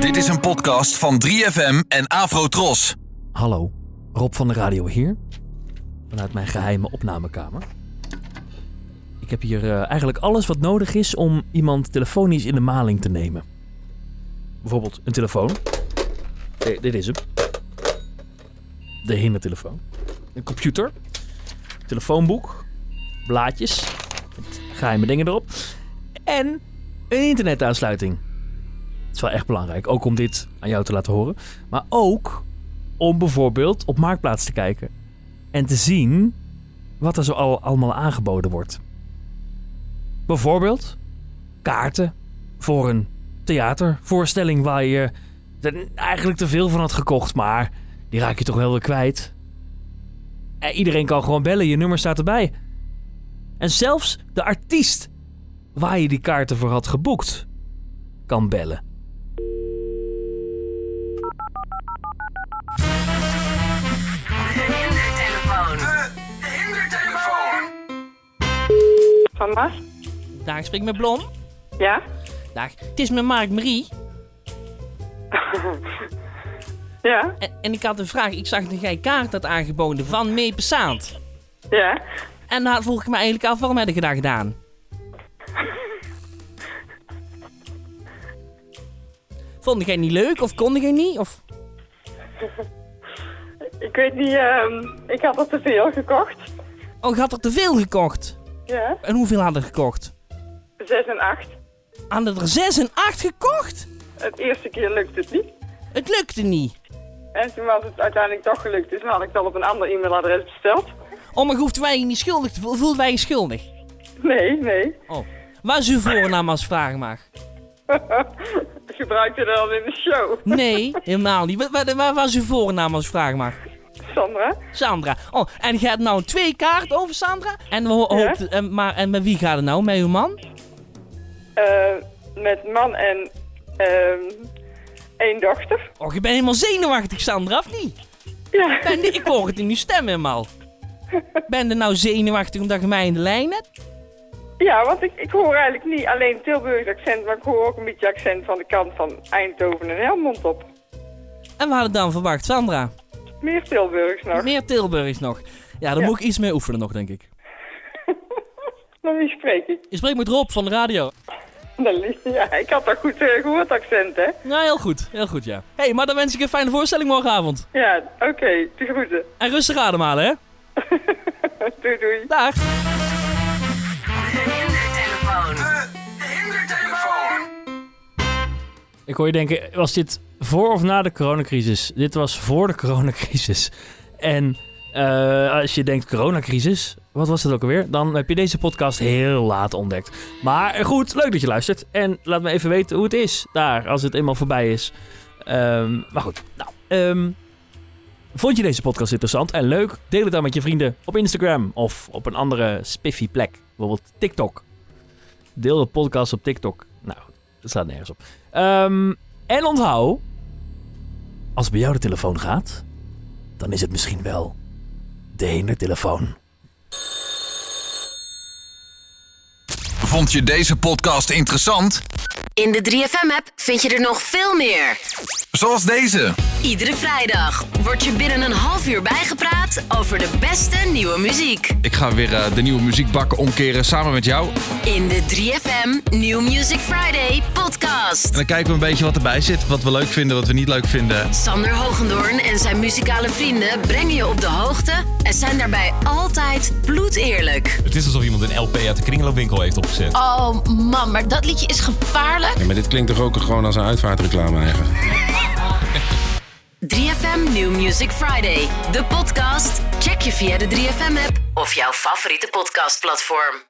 Dit is een podcast van 3FM en Afrotros. Hallo, Rob van de Radio hier. Vanuit mijn geheime opnamekamer. Ik heb hier eh, eigenlijk alles wat nodig is om iemand telefonisch in de maling te nemen. Bijvoorbeeld een telefoon. Eh, dit is hem. De hindertelefoon. Een computer. Telefoonboek. Blaadjes. Met geheime dingen erop. En een internetaansluiting. Het is wel echt belangrijk. Ook om dit aan jou te laten horen. Maar ook om bijvoorbeeld op Marktplaats te kijken. En te zien wat er zo al, allemaal aangeboden wordt. Bijvoorbeeld kaarten voor een theatervoorstelling waar je er eigenlijk te veel van had gekocht, maar die raak je toch wel weer kwijt. En iedereen kan gewoon bellen, je nummer staat erbij. En zelfs de artiest waar je die kaarten voor had geboekt, kan bellen. De hindertelefoon. De hindertelefoon. Sanne? Dag, ik spreek met Blom. Ja? Dag. Het is met Mark Marie. Ja? En, en ik had een vraag. Ik zag dat jij kaart had aangeboden van Meepesaand. Ja? En daar vroeg ik me eigenlijk af, waarom heb ik dat gedaan? Vond jij niet leuk of kon jij niet? Of... Ik weet niet, ehm, ik had er te veel gekocht. Oh, je had er te veel gekocht. Ja? En hoeveel hadden er gekocht? Zes en acht. Hadden er zes en acht gekocht? Het eerste keer lukte het niet. Het lukte niet. En toen was het uiteindelijk toch gelukt. Dus toen had ik het al op een ander e-mailadres besteld. Oh, maar je hoeft wij je niet schuldig te voelen. Voelt wij je schuldig? Nee, nee. Oh. Wat is uw voornaam als ik vragen mag? Ik gebruikte dat al in de show. Nee, helemaal niet. Wat, wat, wat was uw voornaam als ik vragen mag? Sandra? Sandra. Oh, en je hebt nou twee kaarten over Sandra? En, we ho- Ja. hoopt, en, maar, en met wie gaat het nou? Met uw man? Eh, met man en ehm één dochter. Och, je bent helemaal zenuwachtig, Sandra, of niet? Ja. Ben, ik hoor het in uw stem helemaal. Ben je nou zenuwachtig omdat je mij in de lijn hebt? Ja, want ik, ik hoor eigenlijk niet alleen Tilburgs accent, maar ik hoor ook een beetje accent van de kant van Eindhoven en Helmond op. En we hadden dan verwacht, Sandra. Meer Tilburgs nog. Meer Tilburgs nog. Ja, daar Ja. moet ik iets mee oefenen nog, denk ik. Maar wie spreek ik? Je spreekt met Rob van de radio. Annelies, ja, ik had dat goed eh, gehoord accent, hè? Nou, heel goed. Heel goed, ja. Hé, hey, maar dan wens ik je een fijne voorstelling morgenavond. Ja, oké, de groeten. En rustig ademhalen, hè? Doei, doei. Dag. De hindertelefoon. De hindertelefoon. Ik hoor je denken, was dit voor of na de coronacrisis? Dit was voor de coronacrisis. En eh, als je denkt coronacrisis, wat was dat ook alweer? Dan heb je deze podcast heel laat ontdekt. Maar eh, goed, leuk dat je luistert. En laat me even weten hoe het is daar, als het eenmaal voorbij is. Ehm, maar goed, nou. ehm, vond je deze podcast interessant en leuk? Deel het dan met je vrienden op Instagram of op een andere spiffy plek. Bijvoorbeeld TikTok. Deel de podcast op TikTok. Nou goed, dat staat nergens op. Ehm, en onthoud, als het bij jou de telefoon gaat, dan is het misschien wel de hindertelefoon. Vond je deze podcast interessant? In de 3FM-app vind je er nog veel meer. Zoals deze. Iedere vrijdag word je binnen een half uur bijgepraat over de beste nieuwe muziek. Ik ga weer eh, de nieuwe muziekbak omkeren samen met jou. En In de 3FM New Music Friday podcast. dan kijken we een beetje wat erbij zit. Wat we leuk vinden, wat we niet leuk vinden. Sander Hogendoorn en zijn muzikale vrienden brengen je op de hoogte en zijn daarbij altijd bloedeerlijk. Het is alsof iemand een LP uit de kringloopwinkel heeft opgezet. Oh man, maar dat liedje is gevaarlijk. Ja, maar dit klinkt toch ook gewoon als een uitvaartreclame eigenlijk? 3FM New Music Friday, de podcast. Check je via de 3FM app of jouw favoriete podcastplatform.